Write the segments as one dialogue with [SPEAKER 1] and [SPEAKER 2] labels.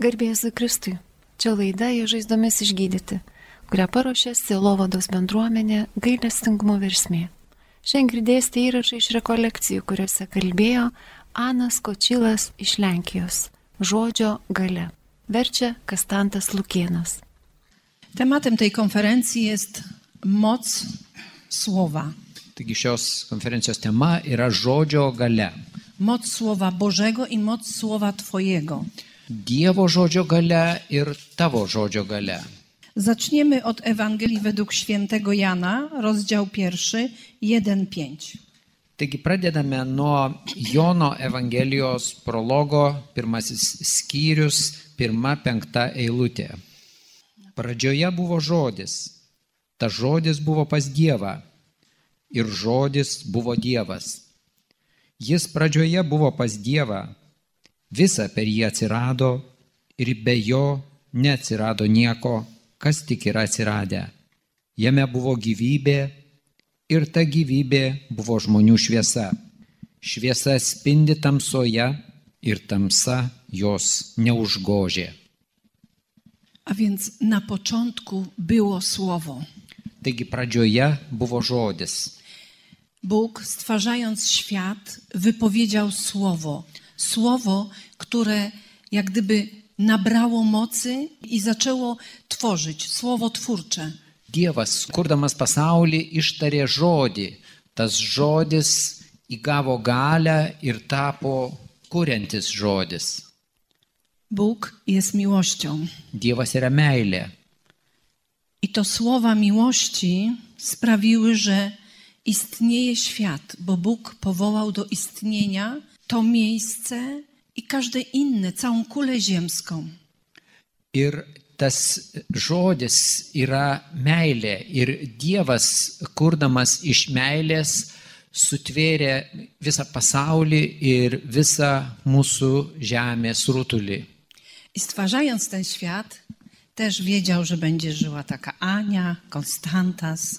[SPEAKER 1] Garbėsiu Kristui. Čia laida į žaizdomis išgydyti, kurią paruošė Silovados bendruomenė gailestingumo versmė. Šiandien girdėsite įrašą iš rekolekcijų, kuriuose kalbėjo Anas Kočilas iš Lenkijos. Žodžio gale. Verčia Kastantas Lukienas.
[SPEAKER 2] Tematem tej konferencji jest moc słowa.
[SPEAKER 3] Taigi šios konferencijos tema yra žodžio gale.
[SPEAKER 2] Moc słowa Bożego i moc słowa Twojego.
[SPEAKER 3] Dievo žodžio gale ir tavo žodžio gale.
[SPEAKER 2] Zaczniemy od Ewangelii według świętego Jana, rozdział pierwszy, 1-5.
[SPEAKER 3] Taigi pradedame nuo Jono Evangelijos prologo, pirmasis skyrius, pirma penkta eilutė. Pradžioje buvo žodis. Ta žodis buvo pas Dievą. Ir žodis buvo Dievas. Jis pradžioje buvo pas Dievą. Visa per jį atsirado ir be jo neatsirado nieko, kas tik yra atsiradę. Jame buvo gyvybė ir ta gyvybė buvo žmonių šviesa. Šviesa spindi tamsoje ir tamsa jos neužgožė.
[SPEAKER 2] A więc na początku było słowo.
[SPEAKER 3] Taigi pradžioje buvo žodis.
[SPEAKER 2] Bóg, stwarzając świat, wypowiedział słowo. Słowo, które jak gdyby nabrało mocy i zaczęło tworzyć, słowo twórcze.
[SPEAKER 3] Dievas, kurdamas pasaulį, ištarė žodį. Tas žodis įgavo galę ir tapo kuriantis žodis.
[SPEAKER 2] Bóg jest miłością.
[SPEAKER 3] Dievas yra meilė.
[SPEAKER 2] I to słowa miłości sprawiły, że istnieje świat, bo Bóg powołał do istnienia to miejsce i każde inne, całą kulę ziemską.
[SPEAKER 3] Ir tas žodis yra meilė. Ir Dievas, kurdamas iš meilės, sutvėrė visą pasaulį ir visą mūsų žemės rutulį.
[SPEAKER 2] I stwarzając ten świat, też wiedział, że będzie żyła taka Ania, Konstantas,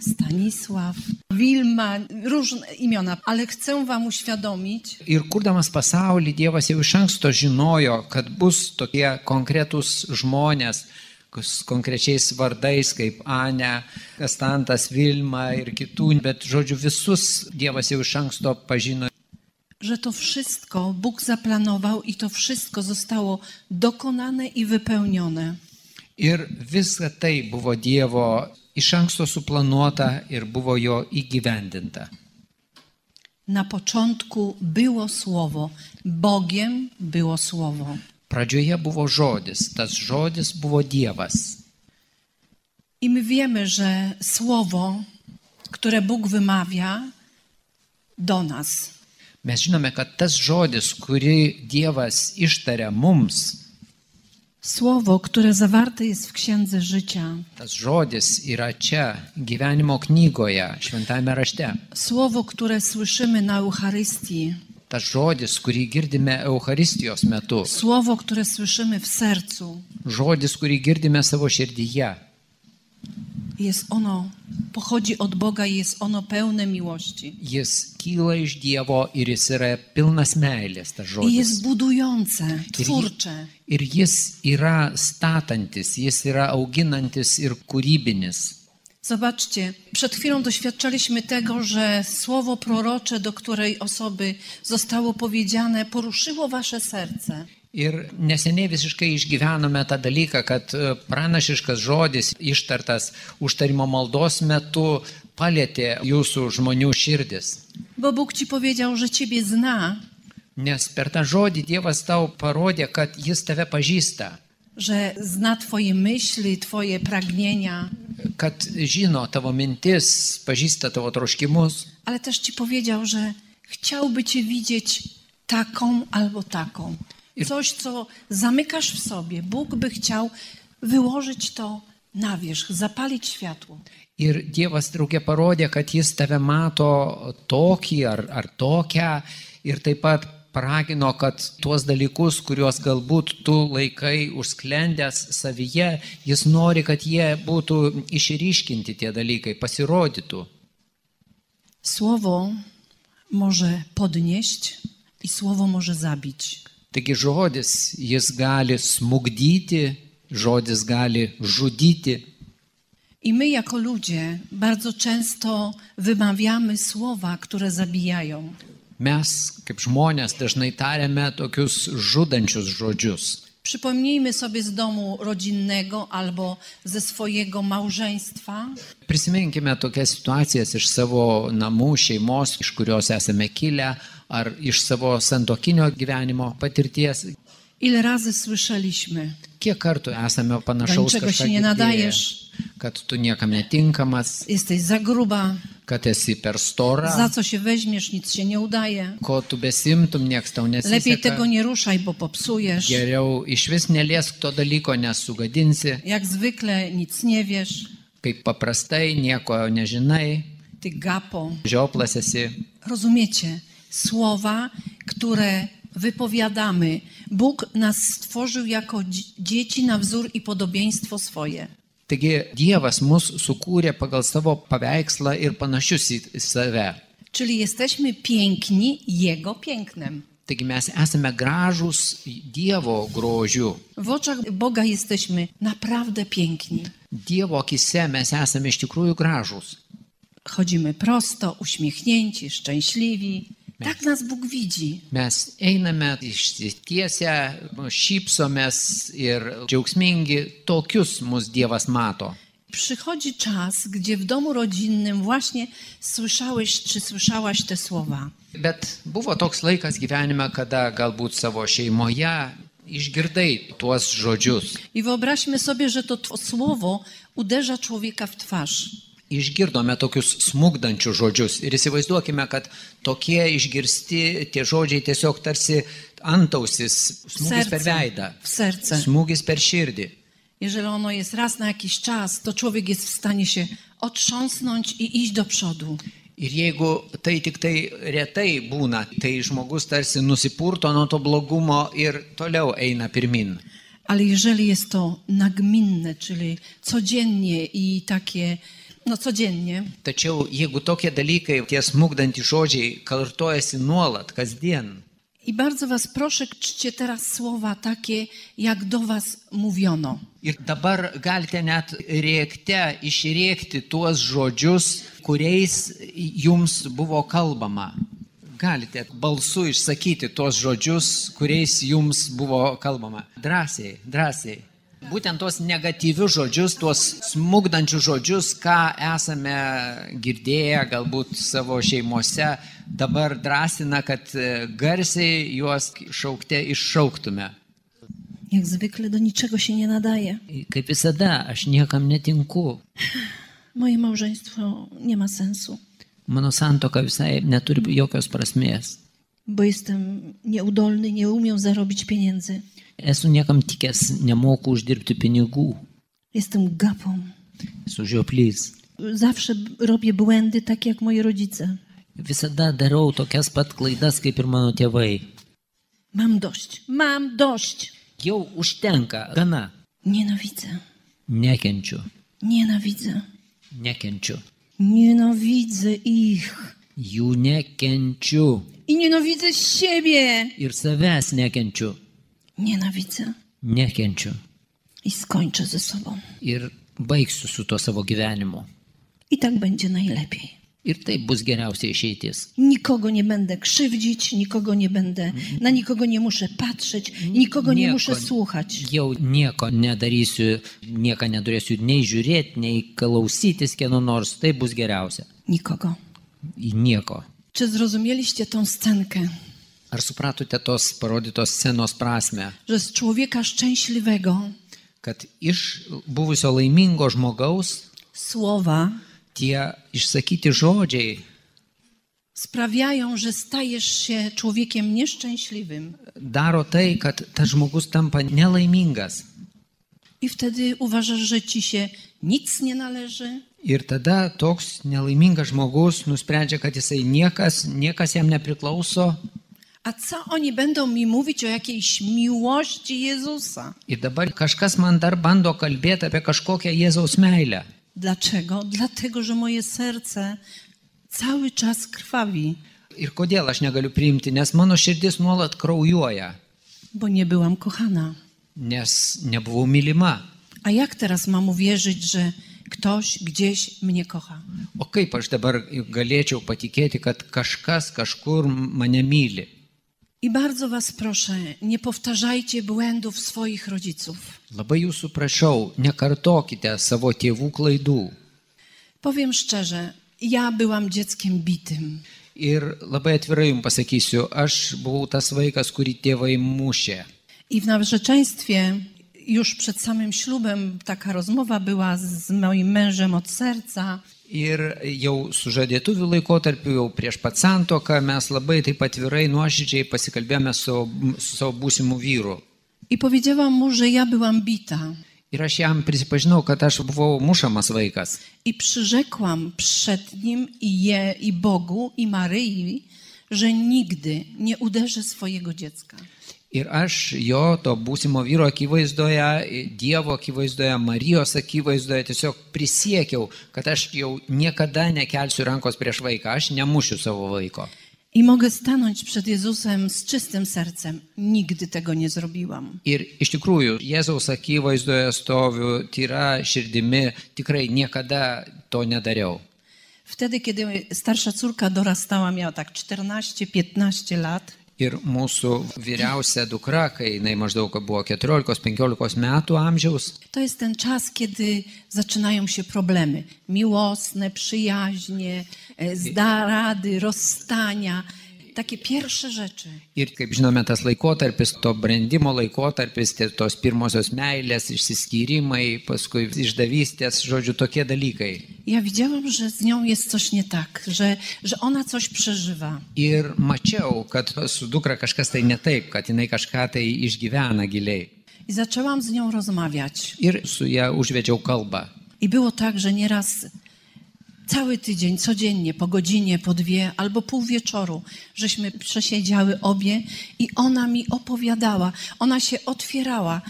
[SPEAKER 2] Stanisław, Wilma, różne imiona, ale chcę Wam uświadomić,
[SPEAKER 3] Ir kurdamas pasaulį, Dievas jau iš anksto žinojo, kad bus tokie konkretūs žmonės su konkrečiais vardais kaip Ane, Kastantas Vilma ir kitų, bet žodžiu visus Dievas jau iš anksto pažino.
[SPEAKER 2] że to wszystko Bóg zaplanował i to wszystko zostało dokonane i wypełnione.
[SPEAKER 3] Ir visa tai buvo Dievo iš anksto suplanuota ir buvo jo įgyvendinta.
[SPEAKER 2] Na początku było Słowo, Bogiem było Słowo.
[SPEAKER 3] Pradžioje buvo žodis, tas žodis buvo Dievas.
[SPEAKER 2] I my wiemy, że Słowo, które Bóg wymawia do nas,
[SPEAKER 3] Mes žinome, kad tas žodis, kurį Dievas ištaria mums,
[SPEAKER 2] Słowo, które zawarte jest w Księdze Życia,
[SPEAKER 3] Tas žodis yra čia, gyvenimo knygoje, šventame rašte.
[SPEAKER 2] Słowo, które słyszymy na Eucharystii,
[SPEAKER 3] Tas žodis, kurį girdime Euharistijos metu.
[SPEAKER 2] Słowo, które słyszymy w sercu,
[SPEAKER 3] Žodis, kurį girdime savo širdyje.
[SPEAKER 2] jest ono, pochodzi od Boga i jest ono pełne miłości.
[SPEAKER 3] Jis kyla iš Dievo ir jis yra pilnas meilės, tas
[SPEAKER 2] I
[SPEAKER 3] žodis.
[SPEAKER 2] jest budujące, twórcze.
[SPEAKER 3] ir jis yra statantis, jis yra auginantis ir kūrybinis.
[SPEAKER 2] Zobaczcie, przed chwilą doświadczaliśmy tego, że słowo prorocze, do której osoby zostało powiedziane, poruszyło wasze serce.
[SPEAKER 3] Ir neseniai visiškai išgyvenome tą dalyką, kad e, pranašiškas žodis ištartas užtarimo maldos metu palėtė jūsų žmonių širdis.
[SPEAKER 2] Bo Bóg ci powiedział, że ciebie zna,
[SPEAKER 3] Nes per tą žodį Dievas tau parodė, kad jis tave pažįsta,
[SPEAKER 2] że zna twoje myśli, twoje pragnienia,
[SPEAKER 3] kad žino tavo mintis, pažįsta tavo troškimus,
[SPEAKER 2] ale też ci powiedział, że chciałby cię widzieć taką albo taką. Coś, co zamykasz w sobie. Bóg by chciał wyłożyć to na wierzch, zapalić światło.
[SPEAKER 3] Ir Dievas draugė parodė, kad jis tave mato tokį ar, ar tokią ir taip pat paragino, kad tuos dalykus, kuriuos galbūt tu laikai užsklendęs savyje, jis nori, kad jie būtų išryškinti tie dalykai, pasirodytų.
[SPEAKER 2] Słowo może podnieść i słowo może zabić.
[SPEAKER 3] Taigi žodis, jis gali smugdyti, žodis gali žudyti.
[SPEAKER 2] I my jako ludzie bardzo często wymawiamy słowa, które zabijają.
[SPEAKER 3] Mes, kaip žmonės, dažnai tariame tokius žudančius žodžius.
[SPEAKER 2] Przypomnijmy sobie z domu rodzinnego albo ze swojego małżeństwa,
[SPEAKER 3] Prisiminkime tokias situacijas iš savo namų, šeimos, iš kurios esame kilę, ar iš savo santokinio gyvenimo patirties.
[SPEAKER 2] ile razy słyszeliśmy.
[SPEAKER 3] Kiek kartų esame panašaus
[SPEAKER 2] Dančiago
[SPEAKER 3] kažką
[SPEAKER 2] šiandien
[SPEAKER 3] girdėję,
[SPEAKER 2] nedaješ.
[SPEAKER 3] kad tu niekam netinkamas,
[SPEAKER 2] Jesteś za gruba,
[SPEAKER 3] kad esi per storą,
[SPEAKER 2] za co się weźmiesz, nic się nie udaje.
[SPEAKER 3] ko tu besimtum, nieks tau
[SPEAKER 2] Lepiej tego
[SPEAKER 3] nesiseka.
[SPEAKER 2] nie ruszaj, bo popsujesz.
[SPEAKER 3] Geriau iš vis neliesk to dalyko, nesugadinsi,
[SPEAKER 2] Jak zwykle nic nie wiesz,
[SPEAKER 3] kaip paprastai, nieko nežinai,
[SPEAKER 2] ty gapo.
[SPEAKER 3] žioplas esi.
[SPEAKER 2] Rozumiecie? Słowa, które wypowiadamy. Bóg nas stworzył jako dzi- dzieci na wzór i podobieństwo swoje.
[SPEAKER 3] Taigi Dievas mus sukūrė pagal savo paveikslą ir panašius į save.
[SPEAKER 2] Czyli jesteśmy piękni Jego pięknem.
[SPEAKER 3] Taigi mes esame gražūs Dievo grožiu.
[SPEAKER 2] W oczach Boga jesteśmy naprawdę piękni.
[SPEAKER 3] Dievo akise mes esame iš tikrųjų gražūs.
[SPEAKER 2] Chodzimy prosto, uśmiechnięci, szczęśliwi. Tak nas Bóg widzi.
[SPEAKER 3] Mes einame ištiesę, šypsomės ir džiaugsmingi. Tokius mus Dievas mato.
[SPEAKER 2] Przychodzi czas, gdzie w domu rodzinnym właśnie słyszałeś czy słyszałaś te słowa.
[SPEAKER 3] Bet buvo toks laikas gyvenime, kada galbūt savo šeimoje išgirdai tuos žodžius.
[SPEAKER 2] I wyobraźmy sobie, że to tw- słowo uderza człowieka w twarz.
[SPEAKER 3] Išgirdome tokius smūgdančius žodžius ir įsivaizduokime, kad tokie išgirsti tie žodžiai tiesiog tarsi antausis,
[SPEAKER 2] W
[SPEAKER 3] smūgis per veidą,
[SPEAKER 2] serce. W serce.
[SPEAKER 3] smūgis per širdį.
[SPEAKER 2] Jeżeli ono jest raz na jakiś czas, to człowiek jest w stanie się otrząsnąć i iść do przodu.
[SPEAKER 3] Ir jeigu tai tik tai retai būna, tai žmogus tarsi nusipurto nuo to blogumo ir toliau eina pirmin.
[SPEAKER 2] Ale jeżeli jest to nagminne, czyli codziennie i takie, no codziennie,
[SPEAKER 3] Tačiau jeigu tokie dalykai, tie smūgdantys žodžiai kartojasi nuolat, kasdien,
[SPEAKER 2] i bardzo Was proszę, czcie teraz słowa takie, jak do Was mówiono.
[SPEAKER 3] Ir dabar galite net rėkte išrėkti tuos žodžius, kuriais jums buvo kalbama. Galite balsu išsakyti tuos žodžius, kuriais jums buvo kalbama. Drąsiai, drąsiai. Būtent tuos negatyvius žodžius, tuos smūgdančius žodžius, ką esame girdėję galbūt savo šeimose, dabar drąsina, kad e, garsiai juos šaukte iššauktume.
[SPEAKER 2] Jak zwykle do niczego się nie nadaje.
[SPEAKER 3] Kaip visada, aš niekam netinku.
[SPEAKER 2] Moje małżeństwo nie ma sensu,
[SPEAKER 3] Mano santoka visai neturi jokios prasmės.
[SPEAKER 2] bo jestem nieudolny, nie umiem zarobić pieniędzy.
[SPEAKER 3] Esu niekam tikęs, nemoku uždirbti pinigų.
[SPEAKER 2] Jestem gapą.
[SPEAKER 3] Esu žioplys.
[SPEAKER 2] Zawsze b- robię błędy, tak jak moi rodzice.
[SPEAKER 3] Visada darau tokias pat klaidas kaip ir mano tėvai.
[SPEAKER 2] Mam dość. Mam dość.
[SPEAKER 3] Jau užtenka, gana.
[SPEAKER 2] Nienawidzę.
[SPEAKER 3] Nekenčiu,
[SPEAKER 2] Nienawidzę.
[SPEAKER 3] nekenčiu.
[SPEAKER 2] Nienawidzę ich.
[SPEAKER 3] Jų nekenčiu.
[SPEAKER 2] I nienawidzę siebie.
[SPEAKER 3] Ir savęs nekenčiu,
[SPEAKER 2] Nienawidzę.
[SPEAKER 3] nekenčiu.
[SPEAKER 2] I skończę ze sobą.
[SPEAKER 3] Ir baigsiu su tuo savo gyvenimu.
[SPEAKER 2] I tak będzie najlepiej.
[SPEAKER 3] Ir tai bus geriausia išeitis.
[SPEAKER 2] Nikogo nie będę krzywdzić, nikogo nie będę, na nikogo nie muszę patrzeć, nikogo nie
[SPEAKER 3] Nieko.
[SPEAKER 2] muszę słuchać.
[SPEAKER 3] Jau nieko nedarysiu, nieko neturėsiu nei žiūrėti, nei klausytis kieno nors, tai bus geriausia.
[SPEAKER 2] Nikogo.
[SPEAKER 3] Į nieko.
[SPEAKER 2] Czy zrozumieliście tą scenkę,
[SPEAKER 3] Ar supratote tos parodytos scenos prasme,
[SPEAKER 2] że z człowieka szczęśliwego
[SPEAKER 3] kad iš buvusio laimingo žmogaus
[SPEAKER 2] słowa
[SPEAKER 3] tie išsakyti žodžiai
[SPEAKER 2] sprawiają, że stajesz się człowiekiem nieszczęśliwym.
[SPEAKER 3] daro tai, kad tas žmogus tampa nelaimingas.
[SPEAKER 2] I wtedy uważasz, że ci się nic nie należy,
[SPEAKER 3] Ir tada toks nelaimingas žmogus nusprendžia, kad jisai niekas, niekas jam nepriklauso,
[SPEAKER 2] a co oni będą mi mówić o jakiejś miłości Jezusa?
[SPEAKER 3] Ir dabar kažkas man dar bando kalbėti apie kažkokią Jėzaus meilę.
[SPEAKER 2] Dlaczego? Dlatego, że moje serce cały czas krwawi.
[SPEAKER 3] Ir kodėl aš negaliu priimti, nes mano širdis nuolat kraujuoja.
[SPEAKER 2] bo nie byłam kochana.
[SPEAKER 3] nes nebuvau mylima.
[SPEAKER 2] A jak teraz mam uwierzyć, że ktoś gdzieś mnie kocha?
[SPEAKER 3] O kaip aš dabar galėčiau patikėti, kad kažkas kažkur mane myli?
[SPEAKER 2] I bardzo Was proszę, nie powtarzajcie błędów swoich rodziców.
[SPEAKER 3] Labai jūsų prašau, nekartokite savo tėvų klaidų.
[SPEAKER 2] Powiem szczerze, ja byłam dzieckiem bitym.
[SPEAKER 3] Ir labai atvirai jums pasakysiu, aš buvau tas vaikas, kurį tėvai mušė.
[SPEAKER 2] I w narzeczeństwie już przed samym ślubem taka rozmowa była z moim mężem od serca.
[SPEAKER 3] Ir jau sužadėtuvių laikotarpiu, jau prieš pat santoką, mes labai taip atvirai, nuoširdžiai pasikalbėjome su, savo- su savo būsimu vyru.
[SPEAKER 2] I powiedziałam mu, że ja byłam bita.
[SPEAKER 3] Ir aš jam prisipažinau, kad aš buvau mušamas vaikas.
[SPEAKER 2] I przyrzekłam przed nim i, je, i Bogu, i Maryi, że nigdy nie uderzę swojego dziecka.
[SPEAKER 3] Ir aš jo, to būsimo vyro akivaizdoje, Dievo akivaizdoje, Marijos akivaizdoje tiesiog prisiekiau, kad aš jau niekada nekelsiu rankos prieš vaiką, aš nemušiu savo vaiko.
[SPEAKER 2] I mogę stanąć przed Jezusem z czystym sercem. Nigdy tego nie zrobiłam.
[SPEAKER 3] Ir iš tikrųjų, Jėzaus akivaizdoje stoviu, tyra širdimi, tikrai niekada to nedariau.
[SPEAKER 2] Wtedy, kiedy starsza córka dorastała, miała tak 14-15 lat,
[SPEAKER 3] Ir mūsų vyriausia dukra, kai jinai maždaug buvo 14-15 metų amžiaus,
[SPEAKER 2] to jest ten czas, kiedy zaczynają się problemy miłosne, przyjaźnie, e, zdarady, rozstania. Takie pierwsze rzeczy.
[SPEAKER 3] Ir kaip žinome, tas laikotarpis, to brandimo laikotarpis, tie- tos pirmosios meilės, išsiskyrimai, paskui išdavystės, žodžiu, tokie dalykai.
[SPEAKER 2] Ja widziałam, że z nią jest coś nie tak, że, że ona coś przeżywa.
[SPEAKER 3] Ir mačiau, kad su dukra kažkas tai ne taip, kad jinai kažką tai išgyvena giliai.
[SPEAKER 2] I zaczęłam z nią rozmawiać.
[SPEAKER 3] Ir su ją užvedžiau kalbą.
[SPEAKER 2] I było tak, że nieraz cały tydzień, codziennie, po godzinie, po dwie albo pół wieczoru, żeśmy przesiedziały obie i ona mi opowiadała, ona się otwierała.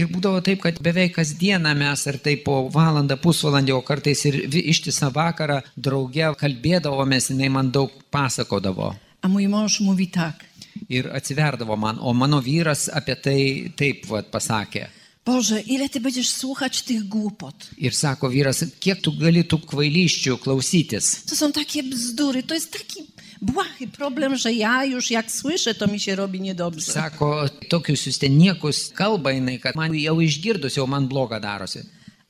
[SPEAKER 3] Ir būdavo taip, kad beveik kasdieną mes ar tai po valandą, pusvalandį, o kartais ir vi- ištisą vakarą drauge kalbėdavomės, jinai man daug pasakodavo.
[SPEAKER 2] A mój mąż mówi tak:
[SPEAKER 3] Ir atsiverdavo man, o mano vyras apie tai taip vat, pasakė.
[SPEAKER 2] Boże, ile ty będziesz słuchać tych głupot?
[SPEAKER 3] Ir sako vyras, kiek tu gali tų kvailyščių klausytis.
[SPEAKER 2] To są takie bzdury, to jest taki błahy problem, że ja już jak słyszę, to mi się robi niedobrze.
[SPEAKER 3] Sako, tokius jūs ten niekus kalba jinai, kad man jau išgirdus, jau man bloga darosi.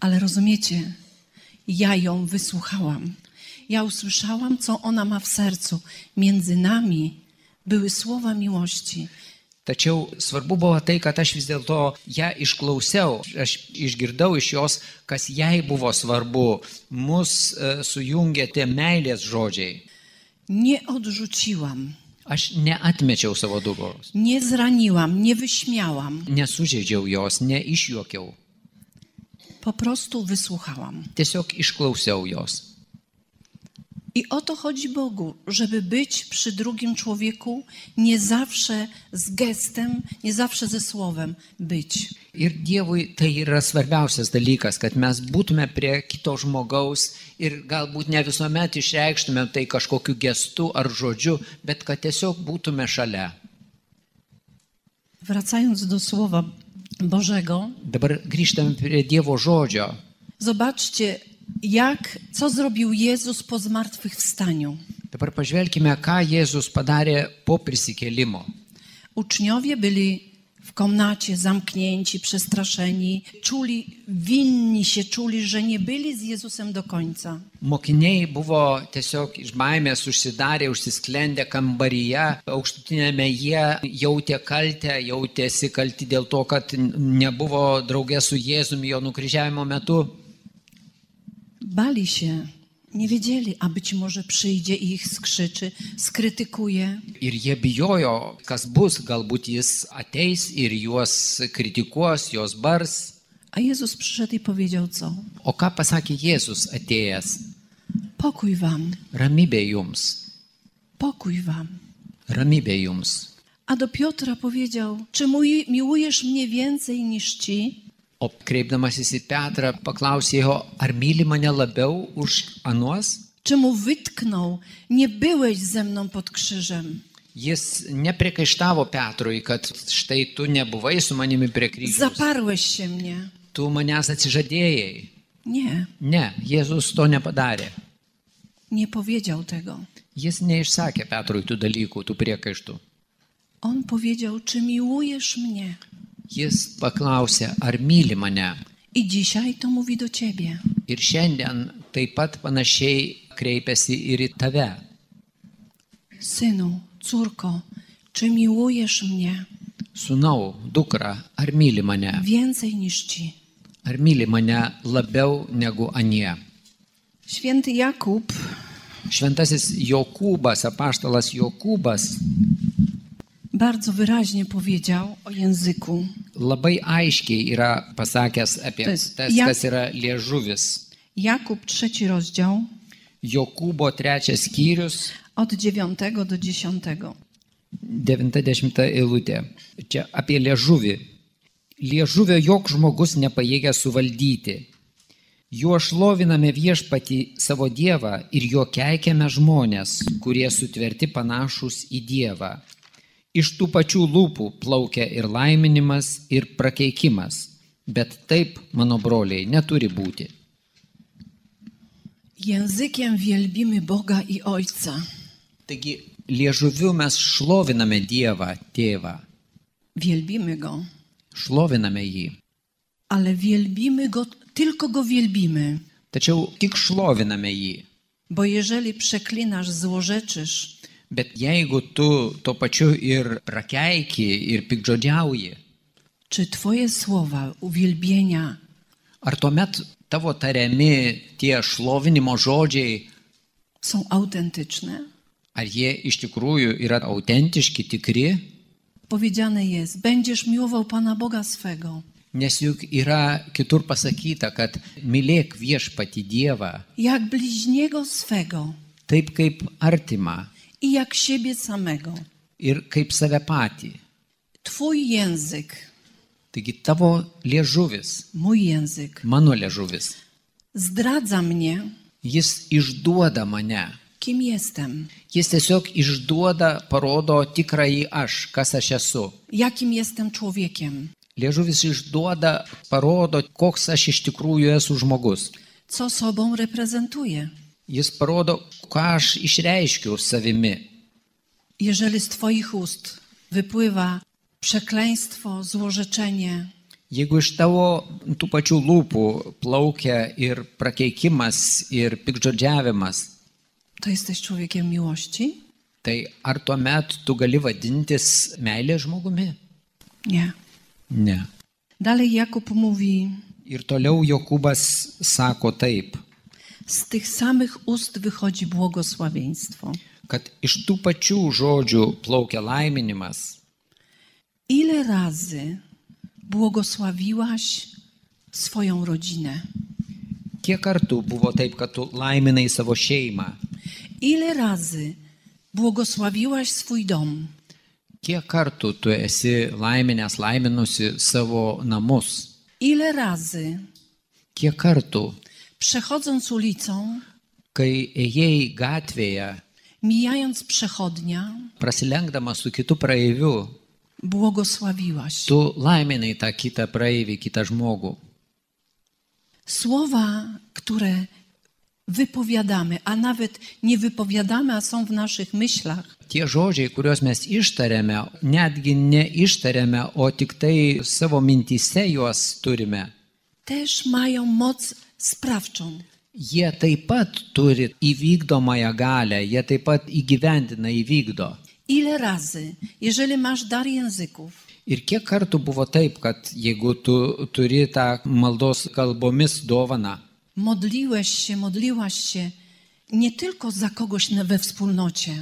[SPEAKER 2] Ale rozumiecie, ja ją wysłuchałam. Ja usłyszałam, co ona ma w sercu. Między nami były słowa miłości.
[SPEAKER 3] Tačiau svarbu buvo tai, kad aš vis dėlto ją išklausiau, aš išgirdau iš jos, kas jai buvo svarbu. Mus e, sujungė tie meilės žodžiai.
[SPEAKER 2] Nie odrzuciłam,
[SPEAKER 3] Aš neatmečiau savo dugos,
[SPEAKER 2] nie zraniłam, nie wyśmiałam.
[SPEAKER 3] nesužeidžiau jos, neišjuokiau.
[SPEAKER 2] Po prostu wysłuchałam.
[SPEAKER 3] Tiesiog išklausiau jos.
[SPEAKER 2] I o to chodzi Bogu, żeby być przy drugim człowieku nie zawsze z gestem, nie zawsze ze słowem być.
[SPEAKER 3] Ir Dievui tai yra svarbiausias dalykas, kad mes būtume prie kito žmogaus ir galbūt ne visuomet išreikštume tai kažkokiu gestu ar žodžiu, bet kad tiesiog būtume šalia.
[SPEAKER 2] Wracając do słowa Bożego,
[SPEAKER 3] Dabar grįžtame prie Dievo žodžio.
[SPEAKER 2] Zobaczcie, jak, co zrobił Jezus po zmartwychwstaniu.
[SPEAKER 3] Dabar pažvelkime, ką Jėzus padarė po prisikėlimu.
[SPEAKER 2] Uczniowie byli w komnacie zamknięci, przestraszeni, czuli, winni się czuli, że nie byli z Jezusem do końca.
[SPEAKER 3] Mokiniai buvo tiesiog iš baimės užsidarę, užsisklendę kambaryje, aukštutinėme jie jautė kaltę, jautėsi kalti dėl to, kad nebuvo draugė su Jėzumi jo nukryžiavimo metu.
[SPEAKER 2] Bali się, nie wiedzieli, a być może przyjdzie i ich skrzyczy, skrytykuje.
[SPEAKER 3] Ir jie bijojo, kas bus, galbūt jis ateis ir juos kritikuos, juos bars.
[SPEAKER 2] A Jezus przyszedł i powiedział co?
[SPEAKER 3] O ką pasakė Jėzus atėjęs?
[SPEAKER 2] Pokój wam,
[SPEAKER 3] Ramybė jums,
[SPEAKER 2] pokój wam.
[SPEAKER 3] ramybė jums.
[SPEAKER 2] A do Piotra powiedział, czy mój- miłujesz mnie więcej niż ci?
[SPEAKER 3] O kreipdamasis į Petrą paklausė jo, ar myli mane labiau už anuos?
[SPEAKER 2] czy mu wytknął, nie byłeś ze mną pod krzyżem.
[SPEAKER 3] Jis nepriekaištavo Petrui, kad štai tu nebuvai su manimi prie kryžiaus.
[SPEAKER 2] Zaparłeś się mnie.
[SPEAKER 3] Tu manęs atsižadėjai.
[SPEAKER 2] Nie,
[SPEAKER 3] Ne, Jėzus to nepadarė.
[SPEAKER 2] nie powiedział tego.
[SPEAKER 3] Jis neišsakė Petrui tų dalykų, tų priekaištų.
[SPEAKER 2] On powiedział, czy miłujesz mnie?
[SPEAKER 3] Jis paklausė, ar myli mane.
[SPEAKER 2] I dzisiaj to mówi do ciebie.
[SPEAKER 3] Ir šiandien taip pat panašiai kreipiasi ir į tave.
[SPEAKER 2] Synu, córko, czy miłujesz mnie
[SPEAKER 3] Sūnau, dukra, ar myli mane?
[SPEAKER 2] więcej niż ci?
[SPEAKER 3] Ar myli mane labiau negu anie?
[SPEAKER 2] Święty Jakub
[SPEAKER 3] Šventasis Jokūbas, apaštalas Jokūbas
[SPEAKER 2] bardzo wyraźnie powiedział o języku.
[SPEAKER 3] labai aiškiai yra pasakęs apie
[SPEAKER 2] Tas-
[SPEAKER 3] tas,
[SPEAKER 2] Ja-
[SPEAKER 3] kas yra liežuvis.
[SPEAKER 2] Jakub trzeci rozdział
[SPEAKER 3] Jokūbo trečias skyrius,
[SPEAKER 2] od 9 do 10.
[SPEAKER 3] 90 eilutė. Čia apie liežuvį. Liežuvio joks žmogus nepajėgia suvaldyti. Juo šloviname viešpati savo Dievą ir juo keikiame žmonės, kurie sutverti panašus į Dievą. Iš tų pačių lūpų plaukia ir laiminimas, ir prakeikimas. Bet taip, mano broliai, neturi būti.
[SPEAKER 2] Językiem wielbimy Boga i Ojca.
[SPEAKER 3] Taigi, liežuviu mes šloviname Dievą, Tėvą.
[SPEAKER 2] Wielbimy Go,
[SPEAKER 3] Šloviname jį.
[SPEAKER 2] ale wielbimy Go, tylko Go wielbimy.
[SPEAKER 3] Tačiau tik šloviname jį.
[SPEAKER 2] Bo jeżeli przeklinasz, złorzeczysz,
[SPEAKER 3] Bet jeigu tu tuo pačiu ir prakeiki, ir pikdžodžiauji,
[SPEAKER 2] czy Twoje słowa uwielbienia
[SPEAKER 3] ar tuomet tavo tariami tie šlovinimo žodžiai,
[SPEAKER 2] są autentyczne?
[SPEAKER 3] ar jie iš tikrųjų yra autentiški, tikri,
[SPEAKER 2] Powiedziane jest, będziesz miłował Pana Boga swego.
[SPEAKER 3] nes juk yra kitur pasakyta, kad mylėk viešpati Dievą
[SPEAKER 2] jak bliźniego swego
[SPEAKER 3] taip kaip artimą
[SPEAKER 2] i jak siebie samego.
[SPEAKER 3] ir kaip save patį.
[SPEAKER 2] Twój język,
[SPEAKER 3] Taigi tavo liežuvis,
[SPEAKER 2] mój język,
[SPEAKER 3] mano liežuvis,
[SPEAKER 2] zdradza mnie,
[SPEAKER 3] jis išduoda mane.
[SPEAKER 2] kim jestem,
[SPEAKER 3] Jis tiesiog išduoda, parodo tikrąjį aš, kas aš esu.
[SPEAKER 2] jakim jestem człowiekiem,
[SPEAKER 3] Liežuvis išduoda, parodo, koks aš iš tikrųjų esu žmogus.
[SPEAKER 2] co sobą reprezentuję.
[SPEAKER 3] Jis parodo, ką aš išreiškiu savimi.
[SPEAKER 2] Jeżeli z Twoich ust wypływa przekleństwo, złorzeczenie,
[SPEAKER 3] Jeigu iš tavo tų pačių lūpų plaukia ir prakeikimas, ir pikdžodžiavimas,
[SPEAKER 2] to jesteś człowiekiem miłości?
[SPEAKER 3] tai ar tuomet tu gali vadintis meilės žmogumi?
[SPEAKER 2] Nie.
[SPEAKER 3] Ne.
[SPEAKER 2] Dalej Jakub mówi:
[SPEAKER 3] Ir toliau Jokūbas sako taip,
[SPEAKER 2] Z tych samych ust wychodzi błogosławieństwo.
[SPEAKER 3] kad iš tų pačių žodžių plaukia laiminimas,
[SPEAKER 2] Ile razy błogosławiłaś swoją rodzinę?
[SPEAKER 3] Kiek kartų buvo taip, kad tu laiminai savo šeimą?
[SPEAKER 2] Ile razy błogosławiłaś swój dom?
[SPEAKER 3] Kiek kartų tu esi laiminęs, laiminusi savo namus?
[SPEAKER 2] Ile razy
[SPEAKER 3] Kiek kartų,
[SPEAKER 2] przechodząc ulicą,
[SPEAKER 3] kai ėjai gatvėje,
[SPEAKER 2] mijając przechodnia,
[SPEAKER 3] prasilenkdamas su kitu praeiviu,
[SPEAKER 2] błogosławiłaś?
[SPEAKER 3] tu laiminai tą kitą praeivį, kitą žmogų?
[SPEAKER 2] Słowa, które wypowiadamy, a nawet nie wypowiadamy, a są w naszych myślach,
[SPEAKER 3] Tie žodžiai, kuriuos mes ištariame, netgi neištariame, o tik tai savo mintise juos turime,
[SPEAKER 2] też mają moc sprawczą.
[SPEAKER 3] jie taip pat turi įvykdomąją galę, jie taip pat įgyvendina, įvykdo.
[SPEAKER 2] Ile razy, jeżeli masz dar języków,
[SPEAKER 3] Ir kiek kartų buvo taip, kad jeigu tu turi tą maldos kalbomis dovaną,
[SPEAKER 2] Modliłeś się, modliłaś się nie tylko za kogoś na- we wspólnocie,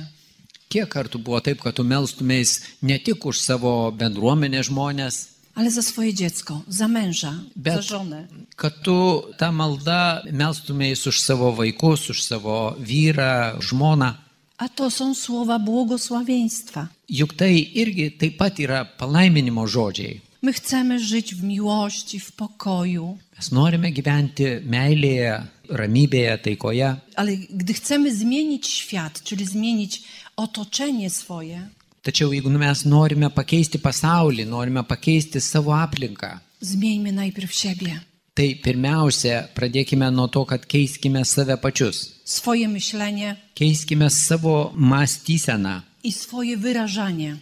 [SPEAKER 3] kiek kartų buvo taip, kad tu melstumės ne tik už savo bendruomenę žmonės,
[SPEAKER 2] ale za swoje dziecko, za męża, za
[SPEAKER 3] bet
[SPEAKER 2] żonę.
[SPEAKER 3] kad tu tą maldą melstumės už savo vaikus, už savo vyrą, žmoną.
[SPEAKER 2] A to są słowa błogosławieństwa.
[SPEAKER 3] Juk tai irgi taip pat yra palaiminimo žodžiai.
[SPEAKER 2] My chcemy żyć w miłości, w pokoju,
[SPEAKER 3] Mes norime gyventi meilėje, ramybėje, taikoje.
[SPEAKER 2] ale gdy chcemy zmienić świat, czyli zmienić otoczenie swoje,
[SPEAKER 3] Tačiau jeigu mes norime pakeisti pasaulį, norime pakeisti savo aplinką,
[SPEAKER 2] Zmieńmy najpierw siebie,
[SPEAKER 3] tai pirmiausia, pradėkime nuo to, kad keiskime save pačius.
[SPEAKER 2] swoje myślenie
[SPEAKER 3] Keiskime savo mąstyseną
[SPEAKER 2] i swoje wyrażanie.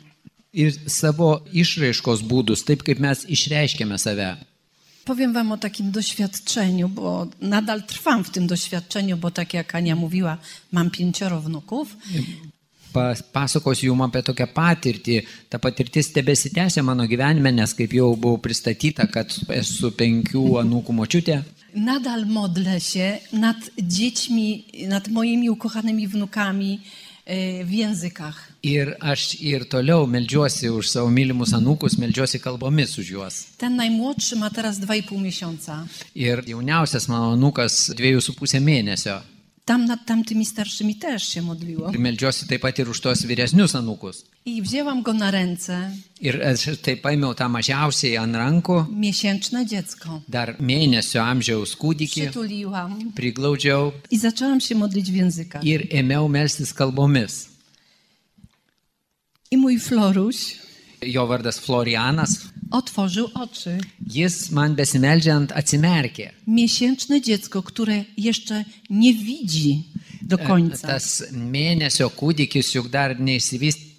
[SPEAKER 3] ir savo išraiškos būdus, taip kaip mes išreiškėme save.
[SPEAKER 2] Powiem Wam o takim doświadczeniu, bo nadal trwam w tym doświadczeniu, bo tak jak Ania mówiła, mam pięcioro wnuków.
[SPEAKER 3] Pa- Pasakosiu jums apie tokią patirtį. Ta patirtis tebesitęsia mano gyvenime, nes kaip jau buvau pristatyta, kad esu penkių anūkų močiutė.
[SPEAKER 2] Nadal modlę się nad dziećmi, nad moimi ukochanymi wnukami e, w językach.
[SPEAKER 3] Ir aš ir toliau melžiuosi už savo mylimus anūkus, melžiuosi kalbomis už juos.
[SPEAKER 2] Ten najmłodszy ma teraz 2,5 miesiąca.
[SPEAKER 3] Ir jauniausias mano anūkas dviejų su pusę mėnesio.
[SPEAKER 2] Tam nad tamtymi starszymi też się modliło.
[SPEAKER 3] Ir melžiuosi taip pat ir už tos vyresnius anūkus.
[SPEAKER 2] I wzięłam go na ręce,
[SPEAKER 3] Ir aš taip paėmiau tą mažiausiai ant rankų,
[SPEAKER 2] miesięczne dziecko.
[SPEAKER 3] dar mėnesio amžiaus kūdikį,
[SPEAKER 2] Przytuliłam
[SPEAKER 3] priglaudžiau
[SPEAKER 2] i zaczęłam się modlić w językach.
[SPEAKER 3] ir ėmiau melstis kalbomis.
[SPEAKER 2] I mój Floruś
[SPEAKER 3] Jo vardas Florianas.
[SPEAKER 2] otworzył oczy.
[SPEAKER 3] Jis man besimeldžiant atsimerkė.
[SPEAKER 2] Miesięczne dziecko, które jeszcze nie widzi do
[SPEAKER 3] E,
[SPEAKER 2] końca.
[SPEAKER 3] Tas mėnesio kūdikis juk dar neįsivystęs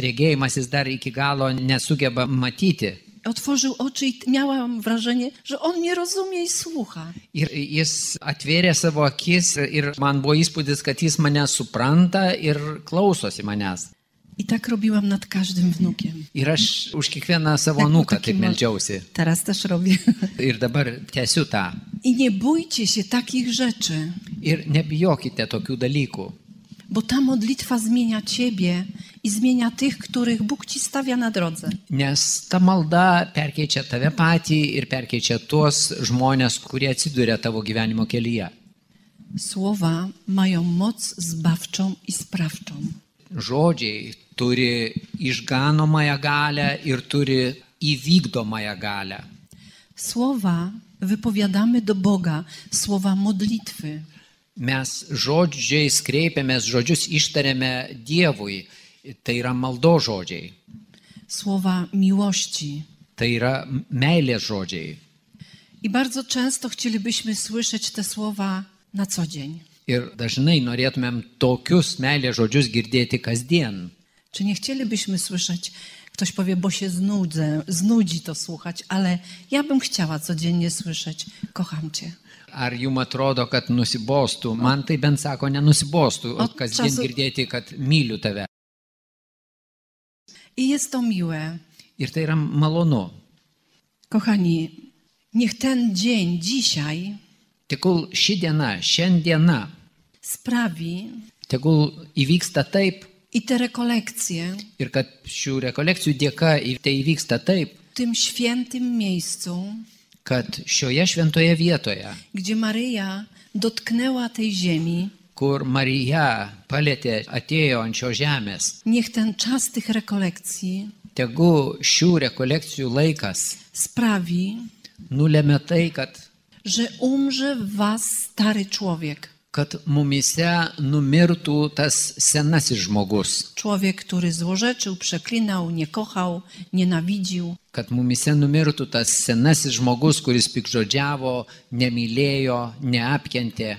[SPEAKER 3] regėjimas, jis dar iki galo nesugeba matyti.
[SPEAKER 2] Otworzył oczy i miałam wrażenie, że on mnie rozumie i słucha.
[SPEAKER 3] Ir jis atvėrė savo akis ir man buvo įspūdis, kad jis mane supranta ir klausosi manęs.
[SPEAKER 2] I tak robiłam nad każdym wnukiem.
[SPEAKER 3] Ir aš už kiekvieną savo nuką taip melžiausi.
[SPEAKER 2] Teraz też robię.
[SPEAKER 3] Ir dabar tęsiu tą.
[SPEAKER 2] I nie bójcie się takich rzeczy,
[SPEAKER 3] Ir nebijokite tokių dalykų.
[SPEAKER 2] bo ta modlitwa zmienia ciebie i zmienia tych, których Bóg ci stawia na drodze.
[SPEAKER 3] Nes ta malda perkeičia tave patį ir perkeičia tuos žmonės, kurie atsiduria tavo gyvenimo kelyje.
[SPEAKER 2] Słowa mają moc zbawczą i sprawczą.
[SPEAKER 3] Žodžiai turi išganomąją galę ir turi įvykdomąją galę.
[SPEAKER 2] Słowa wypowiadamy do Boga, słowa modlitwy.
[SPEAKER 3] Mes žodžiais kreipiamės, žodžius ištariame Dievui. Tai yra maldo žodžiai.
[SPEAKER 2] słowa miłości.
[SPEAKER 3] Tai yra meilės žodžiai.
[SPEAKER 2] I bardzo często chcielibyśmy słyszeć te słowa na co dzień.
[SPEAKER 3] Ir dažnai norėtumėm tokius meilės žodžius girdėti kasdien.
[SPEAKER 2] Czy nie chcielibyśmy słyszeć, ktoś powie, bo się znudzę, znudzi to słuchać, ale ja bym chciała codziennie słyszeć, kocham Cię.
[SPEAKER 3] Ar jum atrodo, kad nusibostų? Man tai bent sako, nenusibostų, o
[SPEAKER 2] O,
[SPEAKER 3] kasdien
[SPEAKER 2] času-
[SPEAKER 3] girdėti, kad myliu tave.
[SPEAKER 2] I jest to miłe.
[SPEAKER 3] Ir tai yra malonu.
[SPEAKER 2] Kochani, niech ten dzień, dzisiaj,
[SPEAKER 3] Tegul ši diena, šiandiena,
[SPEAKER 2] sprawi
[SPEAKER 3] tegul įvyksta taip
[SPEAKER 2] i te rekolekcje
[SPEAKER 3] ir kad šių rekolekcijų dėka į- tai įvyksta taip,
[SPEAKER 2] w tym świętym miejscu,
[SPEAKER 3] kad šioje šventoje vietoje,
[SPEAKER 2] gdzie Maryja dotknęła tej ziemi,
[SPEAKER 3] kur Marija palėtė atėjo ant šios žemės,
[SPEAKER 2] Niech ten czas tych rekolekcji
[SPEAKER 3] tegu šių rekolekcijų laikas
[SPEAKER 2] sprawi,
[SPEAKER 3] nulėmė tai, kad
[SPEAKER 2] że umrze w was stary człowiek.
[SPEAKER 3] kad mumise numirtų tas senasis žmogus.
[SPEAKER 2] Człowiek, który złorzeczył, przeklinał, nie kochał, nienawidził.
[SPEAKER 3] kad mumise numirtų tas senasis žmogus, kuris pikžodžiavo, nemylėjo, neapkentė.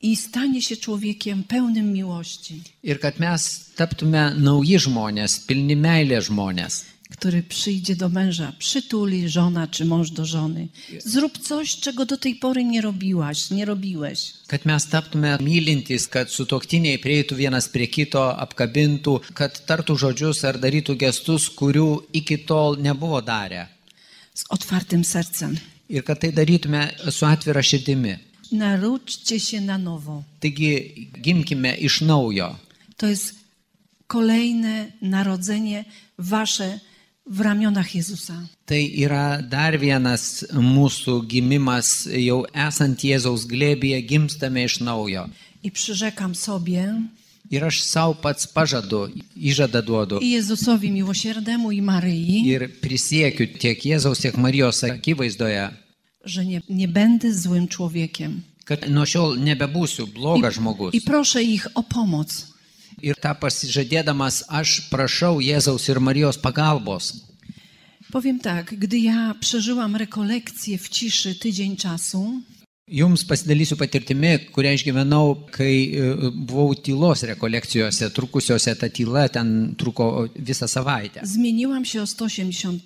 [SPEAKER 2] I stanie się człowiekiem pełnym miłości,
[SPEAKER 3] Ir kad mes taptume nauji žmonės, pilni meilės žmonės,
[SPEAKER 2] który przyjdzie do męża, przytuli żona czy mąż do żony. Zrób coś, czego do tej pory nie robiłaś, nie robiłeś.
[SPEAKER 3] kad mes taptume mylintys, kad sutoktiniai prieitų vienas prie kito, apkabintų, kad tartų žodžius ar darytų gestus, kurių iki tol nebuvo darę.
[SPEAKER 2] Z otwartym sercem.
[SPEAKER 3] Ir kad tai darytume su atvira širdimi.
[SPEAKER 2] Naródźcie się na nowo.
[SPEAKER 3] Taigi gimkime iš naujo.
[SPEAKER 2] To jest kolejne narodzenie wasze w ramionach Jezusa.
[SPEAKER 3] Tai yra dar vienas mūsų gimimas, jau esant Jėzaus glėbėje, gimstame iš naujo.
[SPEAKER 2] I przyrzekam sobie
[SPEAKER 3] Ir aš savo pats pažadu, įžadą duodu.
[SPEAKER 2] i Jezusowi miłosierdemu i Maryi,
[SPEAKER 3] Ir prisiekiu tiek Jėzaus, tiek Marijos akivaizdoje,
[SPEAKER 2] że nie, nie będę złym człowiekiem.
[SPEAKER 3] kad nuo šiol nebebūsiu blogas žmogus.
[SPEAKER 2] I proszę ich o pomoc.
[SPEAKER 3] Ir tą pasižadėdamas aš prašau Jėzaus ir Marijos pagalbos.
[SPEAKER 2] Powiem tak, gdy ja przeżyłam rekolekcję w ciszy tydzień czasu,
[SPEAKER 3] Jums pasidalysiu patirtimi, kurią išgyvenau, kai e, buvau tylos rekolekcijose, trukusiuose ta tyla ten truko visą savaitę.
[SPEAKER 2] zmieniłam się o 180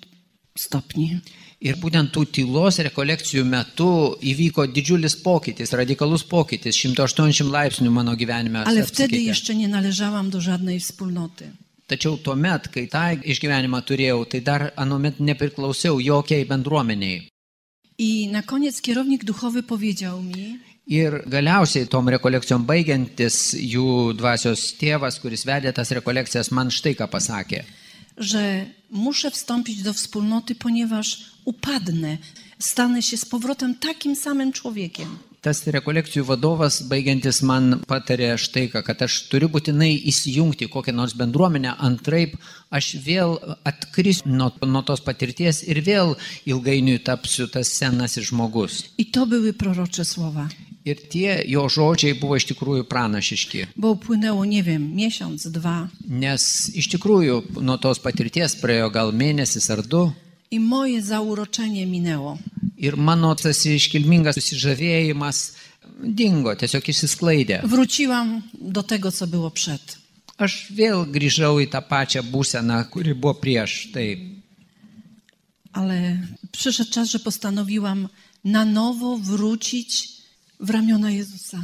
[SPEAKER 2] stopni.
[SPEAKER 3] Ir būtent tų tylos rekolekcijų metu įvyko didžiulis pokytis, radikalus pokytis, 180 laipsnių mano gyvenime.
[SPEAKER 2] Ale wtedy
[SPEAKER 3] apsikeitė.
[SPEAKER 2] jeszcze nie należałam do żadnej wspólnoty.
[SPEAKER 3] Tačiau tuo met, kai tą išgyvenimą turėjau, tai dar anuomet nepriklausiau jokiai bendruomeniai.
[SPEAKER 2] I na koniec kierownik duchowy powiedział mi,
[SPEAKER 3] Ir galiausiai tom rekolekcijom baigiantis jų dvasios tėvas, kuris vedė tas rekolekcijas, man štai ką pasakė.
[SPEAKER 2] że muszę wstąpić do wspólnoty, ponieważ upadnę, stanę się z powrotem takim samym człowiekiem.
[SPEAKER 3] Tas rekolekcijų vadovas baigiantis man patarė štai ką, kad aš turiu būtinai įsijungti į kokią nors bendruomenę, antraip aš vėl atkrisiu nuo, nuo tos patirties ir vėl ilgainiui tapsiu tas senasis žmogus.
[SPEAKER 2] I to były prorocze słowa,
[SPEAKER 3] Ir tie jo žodžiai buvo iš tikrųjų pranašiški,
[SPEAKER 2] bo upłynęło, nie wiem, miesiąc, dwa.
[SPEAKER 3] nes iš tikrųjų nuo tos patirties praėjo gal mėnesis ar du.
[SPEAKER 2] I moje zauroczenie minęło.
[SPEAKER 3] Ir mano tas iškilmingas susižavėjimas dingo, tiesiog išsisklaidė.
[SPEAKER 2] Wróciłam do tego, co było przed.
[SPEAKER 3] Aš vėl grįžau į tą pačią būseną, kuri buvo prieš tai.
[SPEAKER 2] Ale przyszedł czas, że postanowiłam na nowo wrócić w ramiona Jezusa.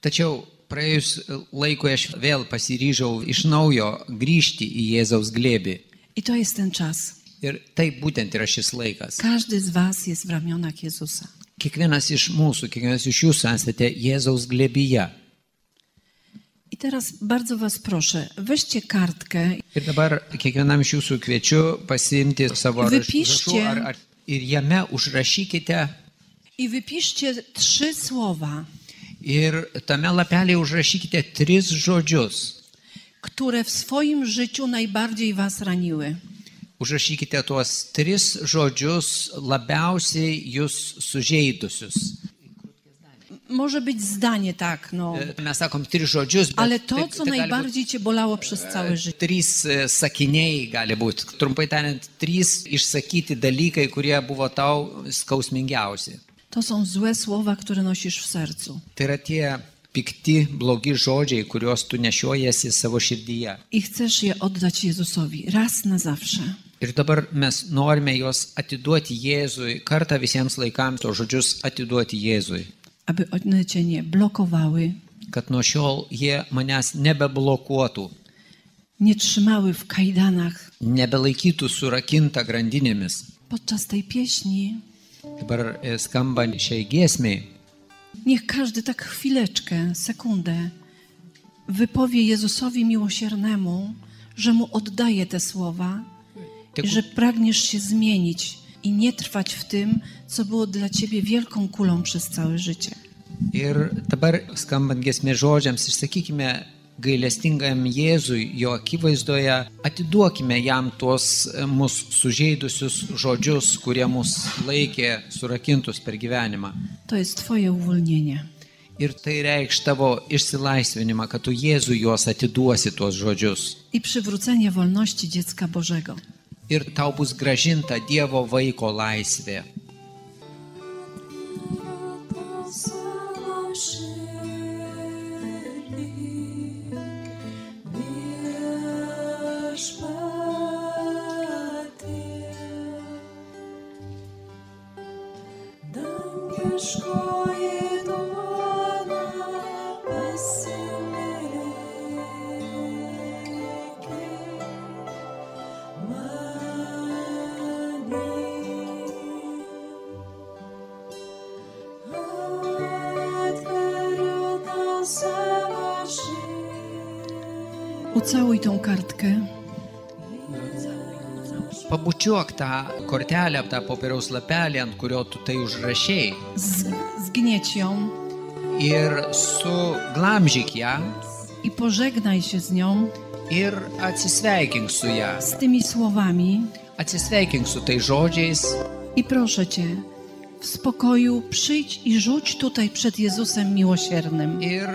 [SPEAKER 3] Tačiau praėjus laikui aš vėl pasiryžau iš naujo grįžti į Jėzaus glėbį.
[SPEAKER 2] I to jest ten czas.
[SPEAKER 3] Ir tai būtent yra šis laikas.
[SPEAKER 2] Każdy z Was jest w ramionach Jezusa.
[SPEAKER 3] Kiekvienas iš mūsų, kiekvienas iš jūsų esate Jėzaus glėbyje.
[SPEAKER 2] I teraz bardzo Was proszę, weźcie kartkę
[SPEAKER 3] Ir dabar kiekvienam iš jūsų kviečiu pasiimti savo raš-
[SPEAKER 2] Vypišti.
[SPEAKER 3] rašų ar, ar, ir jame užrašykite
[SPEAKER 2] i wypiszcie trzy słowa,
[SPEAKER 3] Ir tame lapelėje užrašykite tris žodžius.
[SPEAKER 2] które w swoim życiu najbardziej Was raniły.
[SPEAKER 3] Užrašykite tuos tris žodžius labiausiai jūs sužeidusius.
[SPEAKER 2] Może być zdanie tak, no,
[SPEAKER 3] E, tak, Mes sakom tris žodžius, bet
[SPEAKER 2] ale to,
[SPEAKER 3] taip-
[SPEAKER 2] co
[SPEAKER 3] tai gali
[SPEAKER 2] najbardziej Cię bolało przez całe
[SPEAKER 3] būt
[SPEAKER 2] życie.
[SPEAKER 3] Trys e, sakiniai gali būti, trumpai tariant, trys išsakyti dalykai, kurie buvo tau skausmingiausi.
[SPEAKER 2] To są złe słowa, które nosisz w sercu.
[SPEAKER 3] Tai yra tie pikti, blogi žodžiai, kuriuos tu nešiojasi savo širdyje.
[SPEAKER 2] I chcesz je oddać Jezusowi raz na zawsze.
[SPEAKER 3] Ir dabar mes norime juos atiduoti Jėzui, kartą visiems laikams to žodžius atiduoti Jėzui.
[SPEAKER 2] aby one cię nie blokowały,
[SPEAKER 3] kad nuo šiol jie manęs nebeblokuotų,
[SPEAKER 2] nie trzymały w kajdanach.
[SPEAKER 3] nebelaikytų surakinta grandinėmis.
[SPEAKER 2] Podczas tej pieśni
[SPEAKER 3] Dabar e, skambant šiai giesmiai,
[SPEAKER 2] niech każdy tak chwileczkę, sekundę wypowie Jezusowi miłosiernemu, że mu oddaje te słowa,
[SPEAKER 3] Tylko-
[SPEAKER 2] i że pragniesz się zmienić i nie trwać w tym, co było dla ciebie wielką kulą przez całe życie.
[SPEAKER 3] ir dabar skambant giesmės žodžiams, išsakykime gailestingam Jėzui jo akivaizdoje, atiduokime jam tuos e, mus sužeidusius žodžius, kurie mus laikė surakintus per gyvenimą.
[SPEAKER 2] To jest twoje uwolnienie.
[SPEAKER 3] Ir tai reikš tavo išsilaisvinimą, kad tu Jėzui juos atiduosi tuos žodžius.
[SPEAKER 2] I przywrócenie wolności dziecka Bożego.
[SPEAKER 3] ir tau bus gražinta Dievo vaiko laisvė.
[SPEAKER 2] Ucałuj tą kartkę.
[SPEAKER 3] Pabučiuok tą kortelę, tą popieriaus lapelį, ant kurio tu tai užrašiai
[SPEAKER 2] z, zgnieć ją
[SPEAKER 3] ir suglamžyk ją
[SPEAKER 2] i pożegnaj się z nią
[SPEAKER 3] ir atsisveikink su ją.
[SPEAKER 2] z tymi słowami
[SPEAKER 3] Atsisveikink su tai žodžiais
[SPEAKER 2] i proszę Cię, w spokoju przyjdź i rzuć tutaj przed Jezusem miłosiernym.
[SPEAKER 3] ir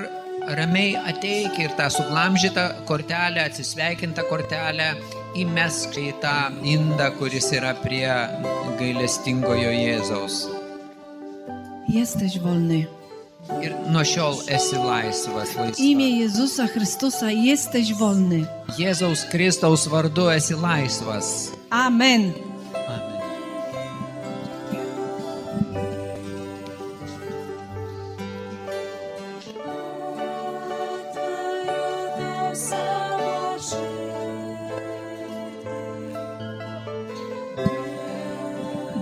[SPEAKER 3] ramiai ateik ir tą suglamžytą kortelę, atsisveikintą kortelę įmesk į tą indą, kuris yra prie gailestingojo Jėzaus.
[SPEAKER 2] Jesteś wolny.
[SPEAKER 3] Ir nuo šiol esi laisvas.
[SPEAKER 2] W
[SPEAKER 3] laisva.
[SPEAKER 2] imię Jezusa Chrystusa jesteś wolny.
[SPEAKER 3] Jėzaus Kristaus vardu esi laisvas.
[SPEAKER 2] Amen.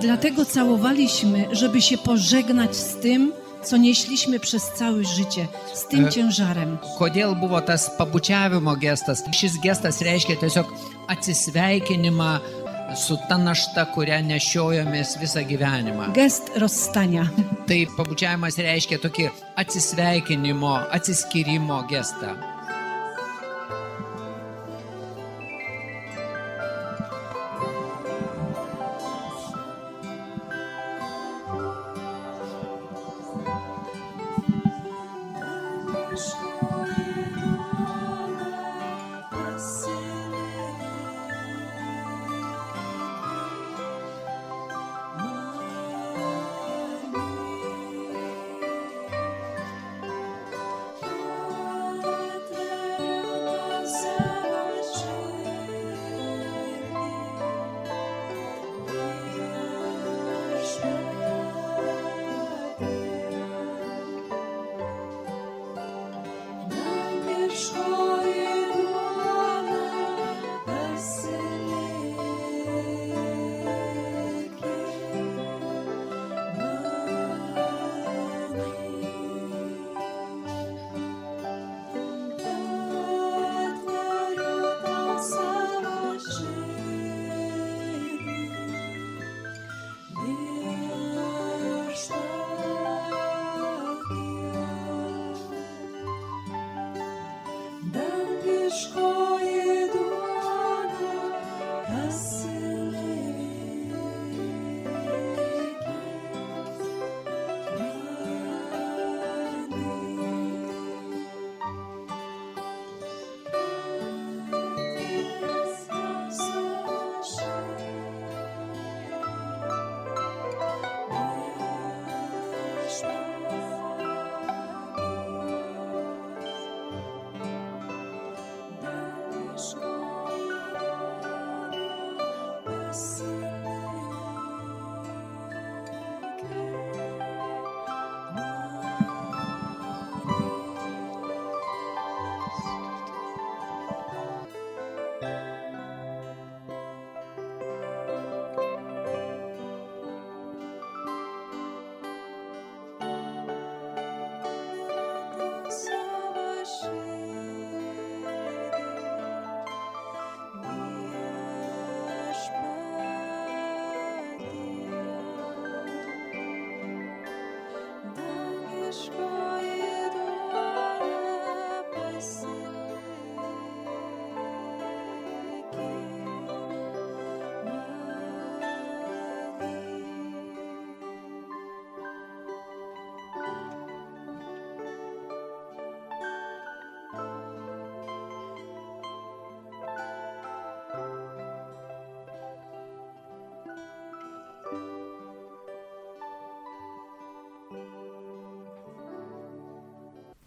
[SPEAKER 2] Dlatego całowaliśmy, żeby się pożegnać z tym, co nieśliśmy przez całe życie, z tym ciężarem.
[SPEAKER 3] Kodėl buvo tas pabučiavimo gestas? Šis gestas reiškia tiesiog atsisveikinimą su ta našta, kurią nešiojomės visą gyvenimą.
[SPEAKER 2] Gest rozstania.
[SPEAKER 3] Tai pabučiavimas reiškia tokį atsisveikinimo, atsiskyrimo gestą.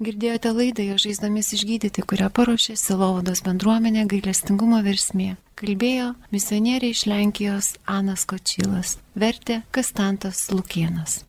[SPEAKER 1] Girdėjote laidą jo žaizdomis išgydyti, kurią paruošė Silovados bendruomenė gailestingumo versmė. Kalbėjo misionierė iš Lenkijos Anas Kočylas, vertė Kastantas Lukienas.